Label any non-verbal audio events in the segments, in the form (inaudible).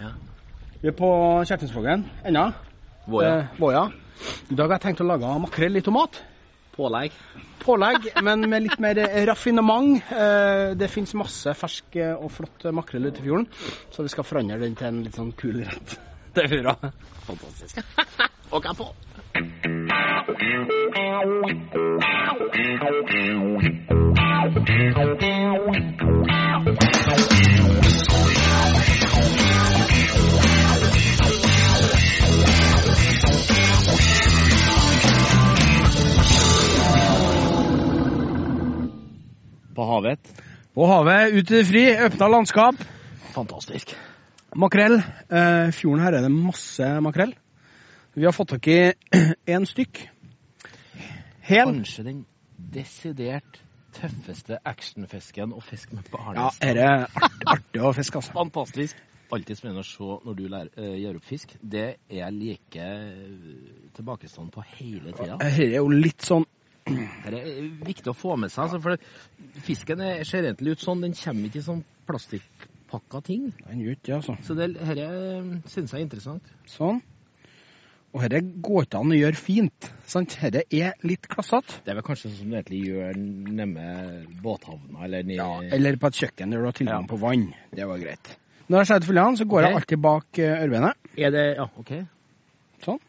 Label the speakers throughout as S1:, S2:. S1: Ja.
S2: Vi er på Kjertinsvågen ennå.
S1: Våja.
S2: Eh, Våja. I dag har jeg tenkt å lage makrell i tomat.
S1: Pålegg.
S2: Pålegg, (laughs) men med litt mer raffinement. Eh, Det fins masse fersk eh, og flott makrell ute i fjorden, så vi skal forandre den til en litt sånn kul rett.
S1: Det er hurra. Fantastisk. (laughs) Og jeg på. På havet.
S2: På havet, ut i det fri, åpna landskap.
S1: Fantastisk.
S2: Makrell. Eh, Fjorden her er det masse makrell. Vi har fått tak i (clears throat) én stykk. Hel.
S1: Kanskje den desidert tøffeste actionfisken å fiske med på
S2: Ja,
S1: harnes.
S2: dette er art, artig å fiske, altså.
S1: Fantastisk. Alltid spennende å se når du lærer, eh, gjør opp fisk. Det er like eh, tilbakestående på hele tida.
S2: Dette er jo litt sånn
S1: Det er viktig å få med seg. Altså, for fisken er, ser egentlig ut sånn, den kommer ikke i sånn plastikkpakka ting.
S2: Den gjør ikke det, altså.
S1: Så det dette syns jeg er interessant.
S2: Sånn. Og dette går ikke an å gjøre fint. Sant? Dette er litt klassete.
S1: Det er vel kanskje sånn som du egentlig gjør nemme båthavna, eller nede
S2: Ja, eller på et kjøkken der du har tilgang
S1: Ja.
S2: på vann. Det var greit. Når jeg skjærer fileten, så går jeg
S1: Ok.
S2: alltid bak eh, ørebeinet.
S1: Er det Ja, OK.
S2: Sånn.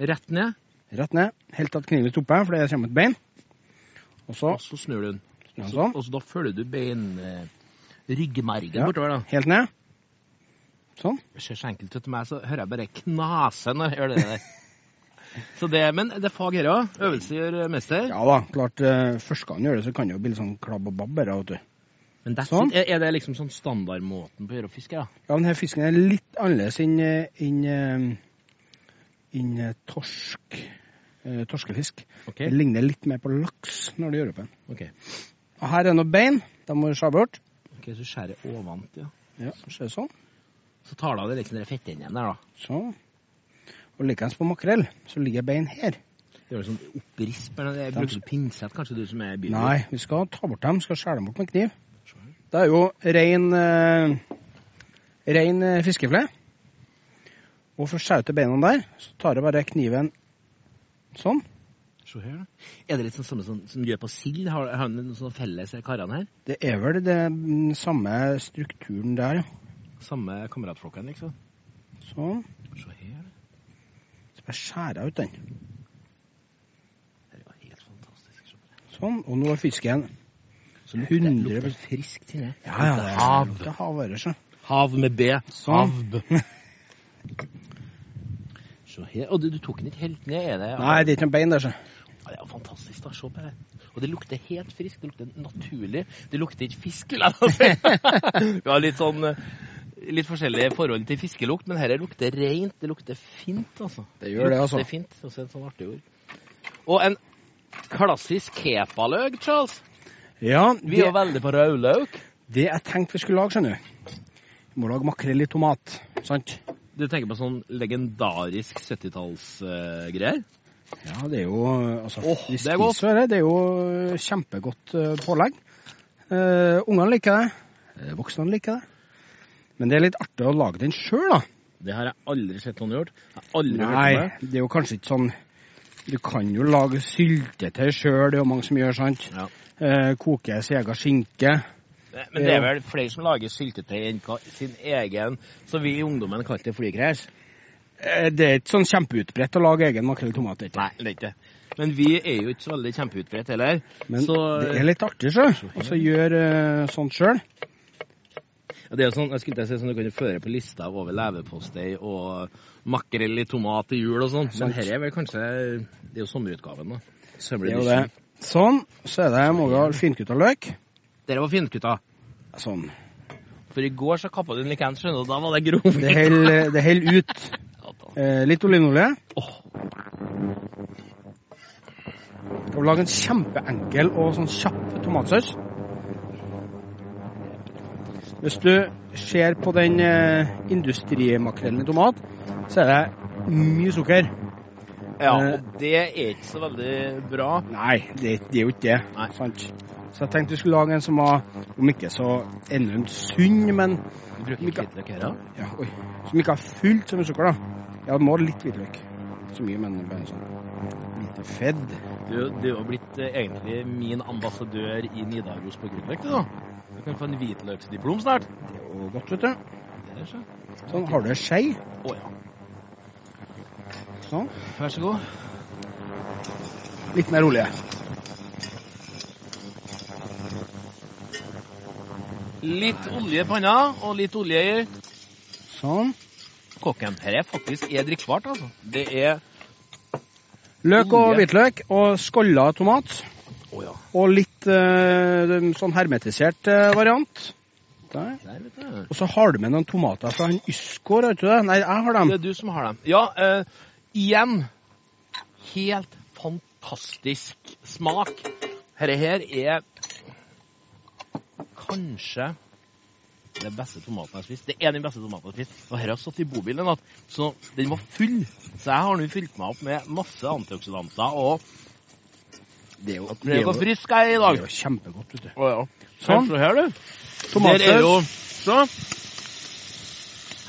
S1: Rett ned,
S2: Rett ned. Helt til at kniven stopper, for det kommer et bein. Og så
S1: og så snur du den.
S2: snur jeg
S1: Så,
S2: sånn.
S1: og så da følger du bein eh, ryggmergen
S2: Ja.
S1: bortover, da.
S2: Helt ned. Sånn.
S1: Det ser så enkelt ut til meg, så hører jeg bare knase når jeg gjør det
S2: (laughs)
S1: der. så det, men det er fag her òg. Øvelse gjør eh, mester.
S2: Ja da, klart. eh, Første gang du gjør det, så kan det jo bli litt sånn klabb og babb. bare, vet du.
S1: Men that's
S2: Sånn.
S1: it. Er, er det liksom sånn standardmåten på å gjøre opp fisk? Ja?
S2: Ja, denne fisken er litt annerledes enn eh, enn, eh, enn, eh, torsk. eh, Torskefisk.
S1: OK.
S2: Det ligner litt mer på laks når du gjør opp en.
S1: ok.
S2: Og her er noen bein. De må du skjære bort.
S1: Ok, Så skjærer jeg ovant, ja.
S2: Ja, så er det sånn.
S1: Så tar du av det liksom det fettet igjen der, da.
S2: Sånn. Og likeens på makrell, så ligger bein her.
S1: Det er jo sånn opprisp eller noe. Jeg Bruker du pinsett, kanskje, du som er billig?
S2: Nei, vi skal ta bort dem, skal skjære dem bort med kniv. Det er jo rein, eh, rein eh, fiskefle. Og for å skjære ut de beina der, så tar jeg bare kniven sånn.
S1: Se her, da. Er det litt sånn samme som, som du gjør på sild? Har, har den noen sånne felles karene her?
S2: Det er vel den samme strukturen der, ja.
S1: Samme kameratflokken, liksom?
S2: Sånn.
S1: Se her.
S2: Så bare skjærer jeg ut den.
S1: Det er jo helt fantastisk. Se på det.
S2: Sånn. Og nå er fisken
S1: Så lukter,
S2: 100%
S1: lukter friskt inni.
S2: det
S1: Lukter
S2: er
S1: hav.
S2: Det havører seg.
S1: Hav med B.
S2: Sånn.
S1: Se her. Og du, du tok den ikke helt ned, er det?
S2: Nei, det er ikke noen bein der, så.
S1: Ja, det er jo fantastisk, da. Se på det. Og det lukter helt friskt. Det lukter naturlig. Det lukter ikke fisk, vil jeg da si. (laughs) Vi har litt sånn eh, Litt forskjellige forhold til fiskelukt, men dette lukter rent. Det lukter fint, altså.
S2: Det gjør det, altså.
S1: Lukter fint, også et sånn artig ord. Og en klassisk kepaløk, Charles.
S2: Ja,
S1: Vi er jo veldig på rødløk.
S2: Det jeg tenkte vi skulle lage, skjønner du. Vi må lage makrell i tomat. Sant?
S1: Du tenker på sånn legendarisk eh, 70-tallsgreier?
S2: Ja, det er jo altså,
S1: Åh,
S2: vi
S1: det er godt.
S2: spiser jo det. Det er jo kjempegodt eh, pålegg. Eh, Ungene liker det. Eh, Voksne liker det. Men det er litt artig å lage den sjøl, da.
S1: det har jeg aldri sett noen gjort. Jeg har aldri hørt om
S2: Nei,
S1: det.
S2: det er jo kanskje ikke sånn Du kan jo lage syltetøy sjøl, det er jo mange som gjør, sant?
S1: Ja.
S2: Eh, koke sin egen skinke.
S1: Men det er vel flere som lager syltetøy enn ka- sin egen, så vi i ungdommen kalte det flykrasj.
S2: Eh, det er ikke sånn kjempeutbredt å lage egen makrell i tomat. det er ikke.
S1: Nei, det er ikke det. Men vi er jo ikke så veldig kjempeutbredt heller.
S2: Men
S1: så
S2: det er litt artig, sjøl. Og så gjøre eh, sånt sjøl.
S1: Ja, det er jo sånn, jeg skulle ikke si sånn, Du kan jo føre på lista over leverpostei og makrell i tomat til jul og sånn. Men
S2: Sant.
S1: her er vel kanskje Det er jo sommerutgaven, da.
S2: Det er jo det. Sånn. Så er det må vi ha finkutta løk.
S1: Dere var finkutta.
S2: Sånn.
S1: For i går så kappa du en likens, skjønner du, og da var det grov.
S2: Det
S1: (laughs)
S2: holder det holder ut. Eh, litt olivenolje.
S1: Åh.
S2: Og lage en kjempeenkel og sånn kjapp tomatsaus. Hvis du ser på den eh, industrimakrellen i tomat, så er det mye sukker.
S1: Ja, og Eh, det er ikke så veldig bra.
S2: Nei, det, det er jo ikke det.
S1: Nei.
S2: Sant? Så jeg tenkte vi skulle lage en som var, om ikke så enormt sunn, men
S1: Du bruker
S2: Mika-
S1: ikke hvitløk her, ja?
S2: ja, oi, som ikke har fullt så mye sukker, da. Ja, det må ha litt hvitløk. Ikke så mye, men bare sånn lite fedd.
S1: Du, du har blitt eh, egentlig min ambassadør i Nidaros på Grünerløkka, du. Du kan få en hvitløksdiplom snart.
S2: Det er jo godt, vet du.
S1: Det er så.
S2: Sånn, har du ei skei?
S1: Å ja.
S2: Sånn.
S1: Vær så god.
S2: Litt mer olje.
S1: Litt olje i panna, og litt olje i
S2: Sånn.
S1: kokken. Her er faktisk er drikkbart, altså. Det er
S2: Løk og
S1: Olje.
S2: hvitløk og skålla tomat.
S1: Å ja.
S2: Og litt eh, sånn hermetisert eh, variant. Der.
S1: Der, vet du.
S2: Og så har du med noen tomater fra han Ysgård, vet du det? Nei, jeg har dem.
S1: Det er du som har dem. Ja, eh, igjen. Helt fantastisk smak. Dette her er kanskje den beste tomaten jeg har spist. Det er den beste tomaten jeg har spist. Og her har jeg stått i bobilen en natt, så den var full. Så jeg har nå fylt meg opp med masse antioksidanter og
S2: Det er jo, det
S1: prøvd
S2: er
S1: å
S2: jo,
S1: være
S2: det
S1: frisk jeg er i
S2: er
S1: dag.
S2: jo kjempegodt, vet du.
S1: Å, ja.
S2: Sånn.
S1: Se her, du.
S2: Tomater.
S1: Der er jo så.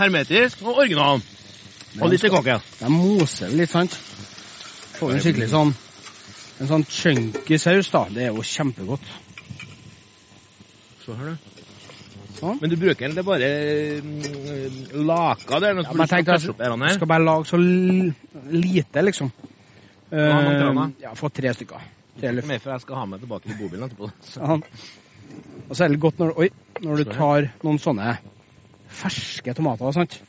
S1: hermetisk og original. Og litt i kokken.
S2: Jeg moser det litt, sant? Får en skikkelig sånn En sånn chunky saus, da. Det er jo kjempegodt.
S1: Se her, du.
S2: Sånn.
S1: Men du bruker egentlig bare mm, laka der.
S2: Ja, men jeg tenkte at- Jeg skal bare lage så l- lite, liksom.
S1: har man til
S2: Uh,
S1: denne?
S2: ja, Få tre stykker. Tre eller
S1: Ikke mer, for jeg skal ha meg tilbake til bobilen etterpå. (laughs)
S2: sånn. Og så er det godt når, oi, når du
S1: Sorry.
S2: tar noen sånne ferske tomater, sant?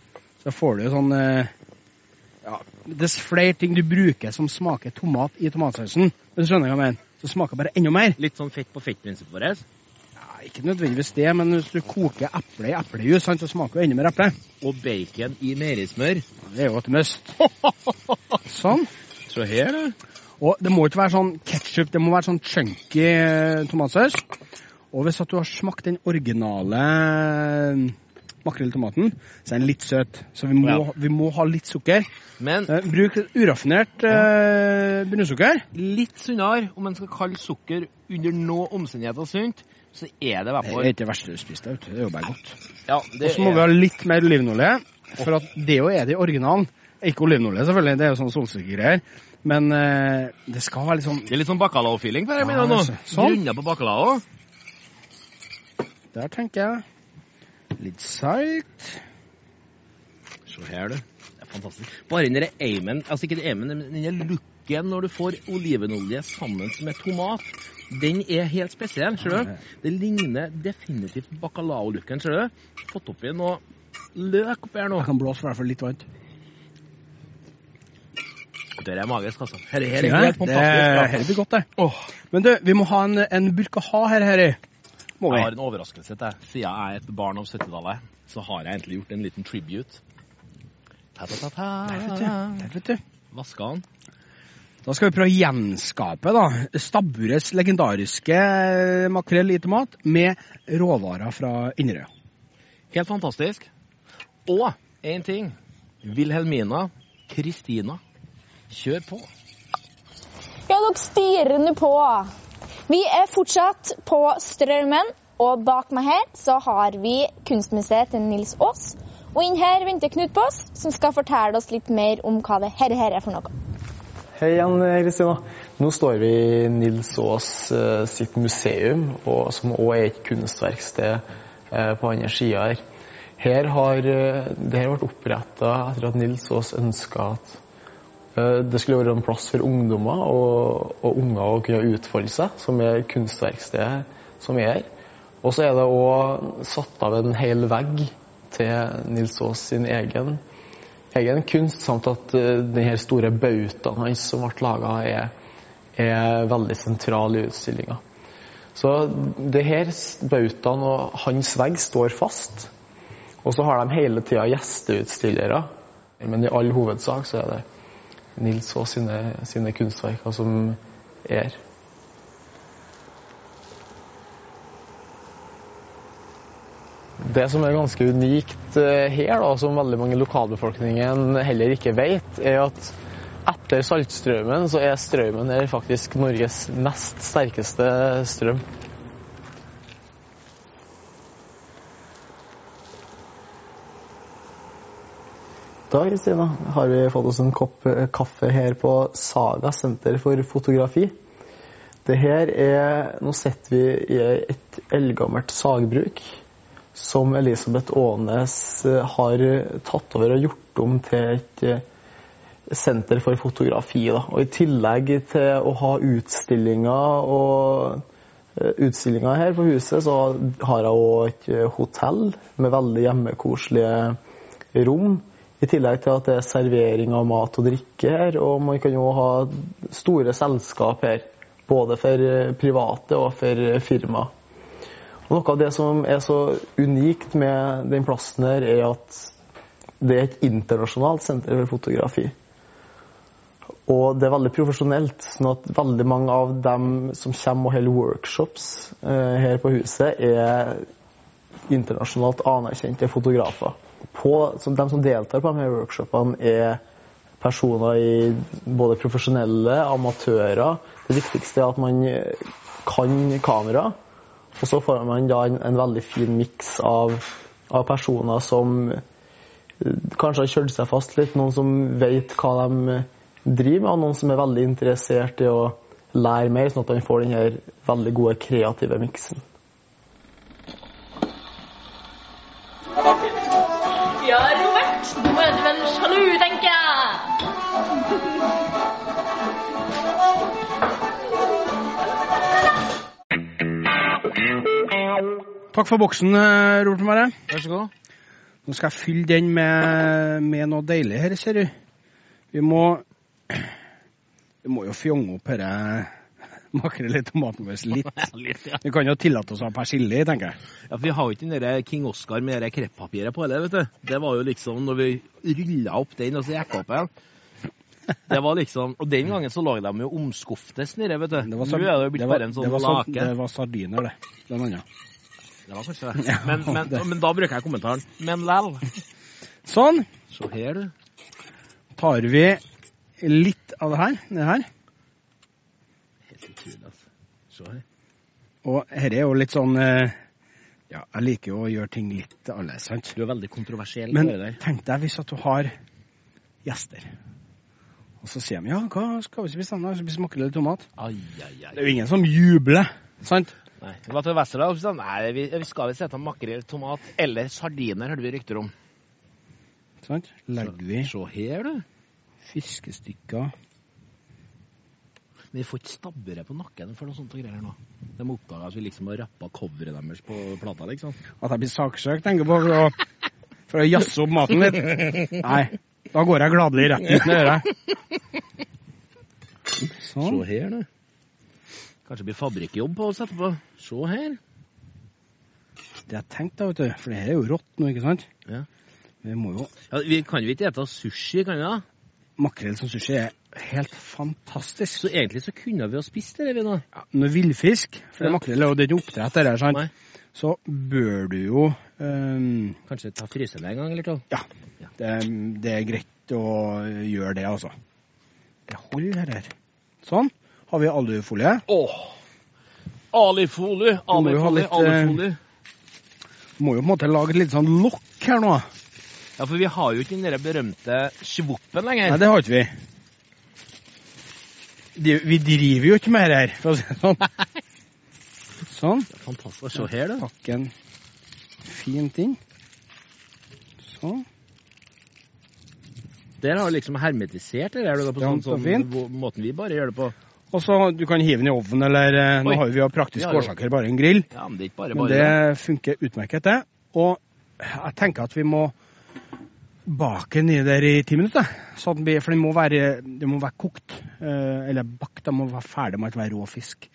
S2: så får du sånn eh, ja, Dess flere ting du bruker som smaker tomat i tomatsausen, men du skjønner hva jeg mener, så smaker det bare enda mer.
S1: Litt sånn fett på fett-prinsippet vårt.
S2: Ja, ikke nødvendigvis det, men hvis du koker eple i eplejus, sant, så smaker det enda mer eple.
S1: Og bacon i
S2: (laughs)
S1: meierismør.
S2: Det er jo et must. Sånn.
S1: Se her, du.
S2: Og det må ikke være sånn ketchup, det må være sånn chunky eh, tomatsaus. Og hvis at du har smakt den originale eh, makrelltomaten, så er den litt søt. Så vi må,
S1: Ja.
S2: vi må ha litt sukker.
S1: Men
S2: Eh, bruk uraffinert eh, brunsukker.
S1: litt sunnere, om en skal kalle sukker under noen omstendigheter sunt, så er det i hvert
S2: Det
S1: fall
S2: er ikke det verste du spiste, vet du. det er jo bare godt.
S1: ja,
S2: Og
S1: det
S2: så må vi
S1: er-
S2: ha litt mer olivenolje, for at det jo er det i originalen. Ikke olivenolje, selvfølgelig, det er jo sånn solsikkegreier. Men eh, det skal være litt sånn
S1: det er litt sånn bacalao-feeling på det.
S2: Ja,
S1: mener jeg nå.
S2: altså. Sånn.
S1: Grunna på bacalao.
S2: Der, tenker jeg. Litt salt.
S1: Se her, du. Det er fantastisk. Bare den der eimen, altså ikke den eimen, men den der looken når du får olivenolje sammen med tomat, den er helt spesiell, ser du. Det ligner definitivt bacalao-looken, ser du. Fått oppi noe løk oppi her nå.
S2: Jeg kan blåse i hvert fall litt varmt.
S1: Det er magisk, altså. Her
S2: Det
S1: er
S2: er
S1: helt fantastisk.
S2: helt godt, det.
S1: Ja. Åh,
S2: Men du, vi må ha en, en burk å ha her, Harry. Må vi?
S1: jeg har en overraskelse til deg. Siden jeg er et barn av 70-tallet, så har jeg egentlig gjort en liten tribute.
S2: Der, vet du.
S1: Ta-ta-ta-ta.
S2: Der, vet du.
S1: Vaska han.
S2: Da skal vi prøve å gjenskape da, stabburets legendariske makrell i tomat med råvarer fra Inderøya.
S1: Helt fantastisk. Og én ting. Wilhelmina, Kristina, kjør på.
S3: Ja, dere styrer nå på. Vi er fortsatt på Strømmen, og bak meg her så har vi kunstmuseet til Nils Aas. Og inn her venter Knut på oss, som skal fortelle oss litt mer om hva det her, her er for noe.
S4: Hei igjen, Kristina. Nå står vi i Nils Aas eh, sitt museum, og, som også er et kunstverksted eh, på andre sida her. Her har eh, det her ble oppretta etter at Nils Aas ønska at eh, det skulle være en plass for ungdommer og, og unger å kunne utfolde seg, som er kunstverkstedet som er her. Og så er det òg satt av en hel vegg til Nils Aas sin egen egen kunst, samt at eh, de her store bautaen hans som ble laga, er, er veldig sentral i utstillinga. Så det her s- bautaen og hans vegg står fast. Og så har de hele tida gjesteutstillere. Men i all hovedsak så er det Nils Aas sine, sine kunstverker som er her. Det som er ganske unikt eh, her, da, som veldig mange i lokalbefolkningen heller ikke vet, er at etter Saltstraumen så er strømmen her faktisk Norges nest sterkeste strøm. Da Kristina, har vi fått oss en kopp eh, kaffe her på Saga senter for fotografi. Det her er Nå sitter vi i et eldgammelt sagbruk som Elisabeth Aanes eh, har tatt over og gjort om til et eh, senter for fotografi. Da. Og I tillegg til å ha utstillinger og eh, utstillinger her på huset, så har jeg òg et eh, hotell med veldig hjemmekoselige rom. I tillegg til at det er servering av mat og drikke her, og man kan jo ha store selskap her. Både for eh, private og for eh, firmaer. Og Noe av det som er så unikt med den plassen her, er at det er et internasjonalt senter for fotografi. Og det er veldig profesjonelt, sånn at veldig mange av dem som kommer og holder workshops eh, her på huset, er internasjonalt anerkjente fotografer. På, som de som deltar på de her workshopene, er personer i både profesjonelle, amatører. Det viktigste er at man kan kamera. Og så får man da en, en veldig fin miks av, av personer som eh, kanskje har kjørt seg fast litt. Noen som vet hva de eh, driver med, og noen som er veldig interessert i å lære mer, sånn at man får den her veldig gode kreative miksen.
S5: Ja, Robert, nå er du vel sjalu, tenker jeg.
S2: Takk for boksen, eh, Robert Mare.
S1: Vær så god.
S2: Nå skal jeg fylle den med, med noe deilig her, ser du. Vi må Vi må jo fjonge opp dette (laughs) makrell i tomaten vår litt.
S1: Litt, (laughs) ja.
S2: Vi kan jo tillate oss å ha persille i, tenker jeg.
S1: Ja, for Vi har jo ikke den der King Oscar med det der krepppapiret på heller, vet du. Det var jo liksom når vi rulla opp den, og så gikk opp igjen. Det var liksom, Og den gangen så lagde de jo omskuftes nede, vet du.
S2: Det var,
S1: Nå er det jo
S2: det
S1: blitt
S2: var,
S1: bare en sånn
S2: det var, sard-
S1: lake.
S2: det var sardiner, det. Den andre.
S1: Det var kanskje det. Men, men, men da bruker jeg kommentaren. Men læl.
S2: Sånn.
S1: Se her, du.
S2: Tar vi litt av det her, det her.
S1: Helt utrolig, altså. Se her.
S2: Og dette er jo litt sånn eh, Ja, jeg liker jo å gjøre ting litt annerledes, sant?
S1: Du er veldig kontroversiell.
S2: Men
S1: du er der.
S2: tenk deg hvis at du har gjester, og så sier de ja, hva skal vi spise da? Skal vi Spise makrell i tomat?
S1: Ai, ai,
S2: Det er
S1: ai.
S2: jo ingen som jubler, sant?
S1: Nei. Det var til Westerdal. og så sa han, Nei, vi, vi skal visst spise makrell, tomat eller sardiner, hørte vi rykter om.
S2: sant? Legger vi
S1: Se her, du.
S2: fiskestykker
S1: Men vi får ikke stabbere på nakken for noe sånt og greier nå. De oppdaga at vi liksom har rappa coveret deres på plata, liksom.
S2: At jeg blir saksøkt, tenker jeg på, for å, for å jazze opp maten litt. Nei, da går jeg gladelig rett ut med øret. Sånn.
S1: Se her, du. Kanskje det blir fabrikkjobb på oss etterpå. Se her.
S2: Det jeg tenkte, da, vet du, for det her er jo rått nå, ikke sant?
S1: Ja.
S2: Vi må jo
S1: Ja, vi kan jo ikke ete sushi, kan vi da?
S2: Makrell som sushi er helt fantastisk.
S1: Så egentlig så kunne vi ha spist det, vi nå.
S2: ja, når villfisk, for det
S1: Ja.
S2: er makrell er jo det er ikke oppdrett, det der, sant?
S1: Nei.
S2: så bør du jo ehm,
S1: Kanskje ta fryse det en gang eller to.
S2: Ja, det, det er greit å gjøre det, altså. Det holder her. Sånn. Har vi alufolie?
S1: Åh! Alifolie,
S2: Du må jo ha
S1: alifolie,
S2: litt, eh,
S1: alifolie.
S2: Må jo på en måte lage et lite sånn lokk her nå.
S1: Ja, for vi har jo ikke den der berømte svoppen lenger.
S2: Nei, det har ikke vi. De, vi driver jo ikke med det her, for å si det
S1: (laughs)
S2: sånn. Sånn.
S1: Fantastisk. Se her, du.
S2: Pakk en fin ting. Sånn.
S1: Der har du liksom hermetisert det der, du, da, på sånn,
S2: Stramt og
S1: sånn
S2: fint.
S1: hvor- måten vi bare gjør det på.
S2: Og så du kan hive den i ovnen, eller eh, nå
S1: Oi.
S2: har vi av praktiske
S1: Ja, jo.
S2: årsaker bare en grill.
S1: Ja, men det er ikke bare
S2: Men
S1: bare.
S2: det funker utmerket, det. Og jeg tenker at vi må bake den i der i ti minutter. Så at den blir, for den må være, den må være kokt, eh, eller bakt. Den må være ferdig med å være rå fisk.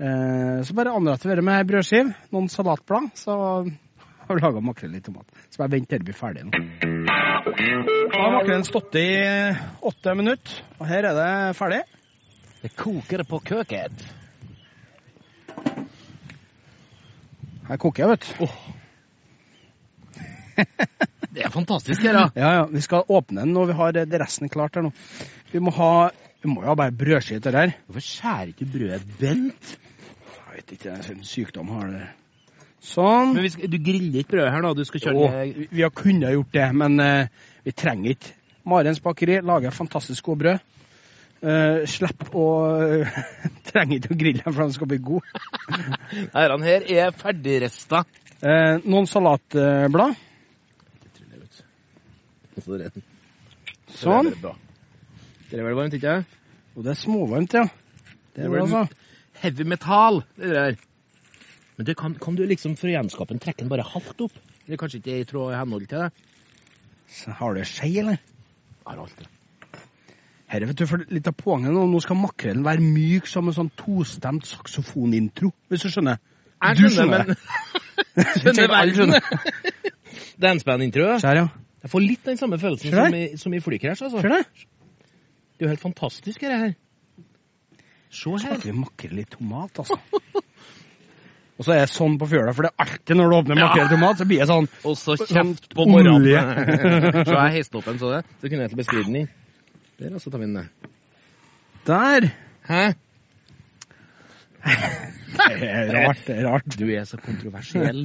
S2: Eh, Så bare anretter vi det med brødskiv, noen salatblad, så har vi laga makrell i tomat. Så bare vent til det blir ferdig. nå. Da har makrellen stått i åtte minutter, og her er det ferdig.
S1: Det koker på køket.
S2: Her koker jeg, vet du.
S1: Det er fantastisk her, da.
S2: Ja, ja. Vi skal åpne den når vi har eh, det resten klart her nå. Vi må ha vi må jo ha bare brødskive til det her.
S1: Hvorfor skjærer ikke brødet bent?
S2: Jeg vet ikke, det er en sykdom har det. Sånn.
S1: Men vi skal, du griller ikke brødet her nå, du skal kjøre
S2: Jo,
S1: det
S2: vi har kunnet gjort det, men eh, Vi trenger ikke. Marens bakeri lager fantastisk gode brød. Uh, Slipp å (laughs) Trenger ikke å grille dem, for de skal bli gode.
S1: Dette her er ferdigresta.
S2: Eh, noen salatblad. Sånn.
S1: Det er vel varmt, ikke sant?
S2: Og det er småvarmt, ja. Det er bra, altså.
S1: Heavy metal, det der. Men det kan, kan du liksom for å gjenskape den trekke den bare halvt opp? Det er kanskje ikke i tråd i henhold til det?
S2: Så altså. Har du skje, eller?
S1: Har alltid.
S2: Herre, vet du, for litt av poenget nå, nå skal makrellen være myk som en sånn tostemt saksofonintro, hvis du skjønner.
S1: Jeg
S2: Du
S1: skjønner, (laughs) men skjønner verden. Det er en spennende intro. da.
S2: Se her, ja.
S1: Jeg får litt den samme følelsen
S2: Skjønner.
S1: som i, som i flykrasj, altså.
S2: Ser du det?
S1: Det er jo helt fantastisk, dette her. Se her.
S2: Smaker vi makrell i tomat, altså. (laughs) Og så er jeg sånn på fjøla, for det er alltid når du åpner makrell i tomat, så blir jeg sånn
S1: Og så
S2: kjeft
S1: på
S2: morgenen. (laughs)
S1: Så jeg heiste opp en så det. Så kunne jeg egentlig beskrive den i. Der, altså, ta min det.
S2: Der!
S1: Hæ?
S2: Det er rart, det er rart.
S1: Du er så kontroversiell.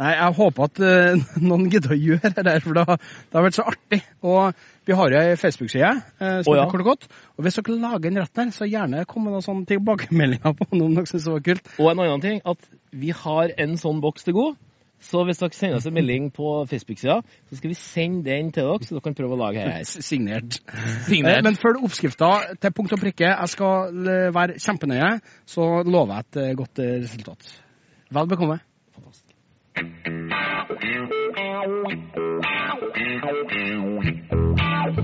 S2: Nei, jeg håper at eh, (laughs) noen gidder å gjøre det der, for det har, det har vært så artig. Og vi har jo ei Facebook-side eh, som
S1: Å, ja.
S2: heter Kort og godt. Og hvis dere lager en rett der, så gjerne kom med noen sånne tilbakemeldinger på noe om dere syns det var kult.
S1: Og en annen ting, at vi har en sånn boks til god. Så hvis dere sender oss en melding på Facebook-sida, så skal vi sende den til dere, så dere kan prøve å lage her.
S2: S- Signert. Eh,
S1: Signert.
S2: Men følg oppskrifta til punkt og prikke. Jeg skal eh, være kjempenøye, så lover jeg et eh, godt eh, resultat. Vel bekomme.
S1: Fantastisk.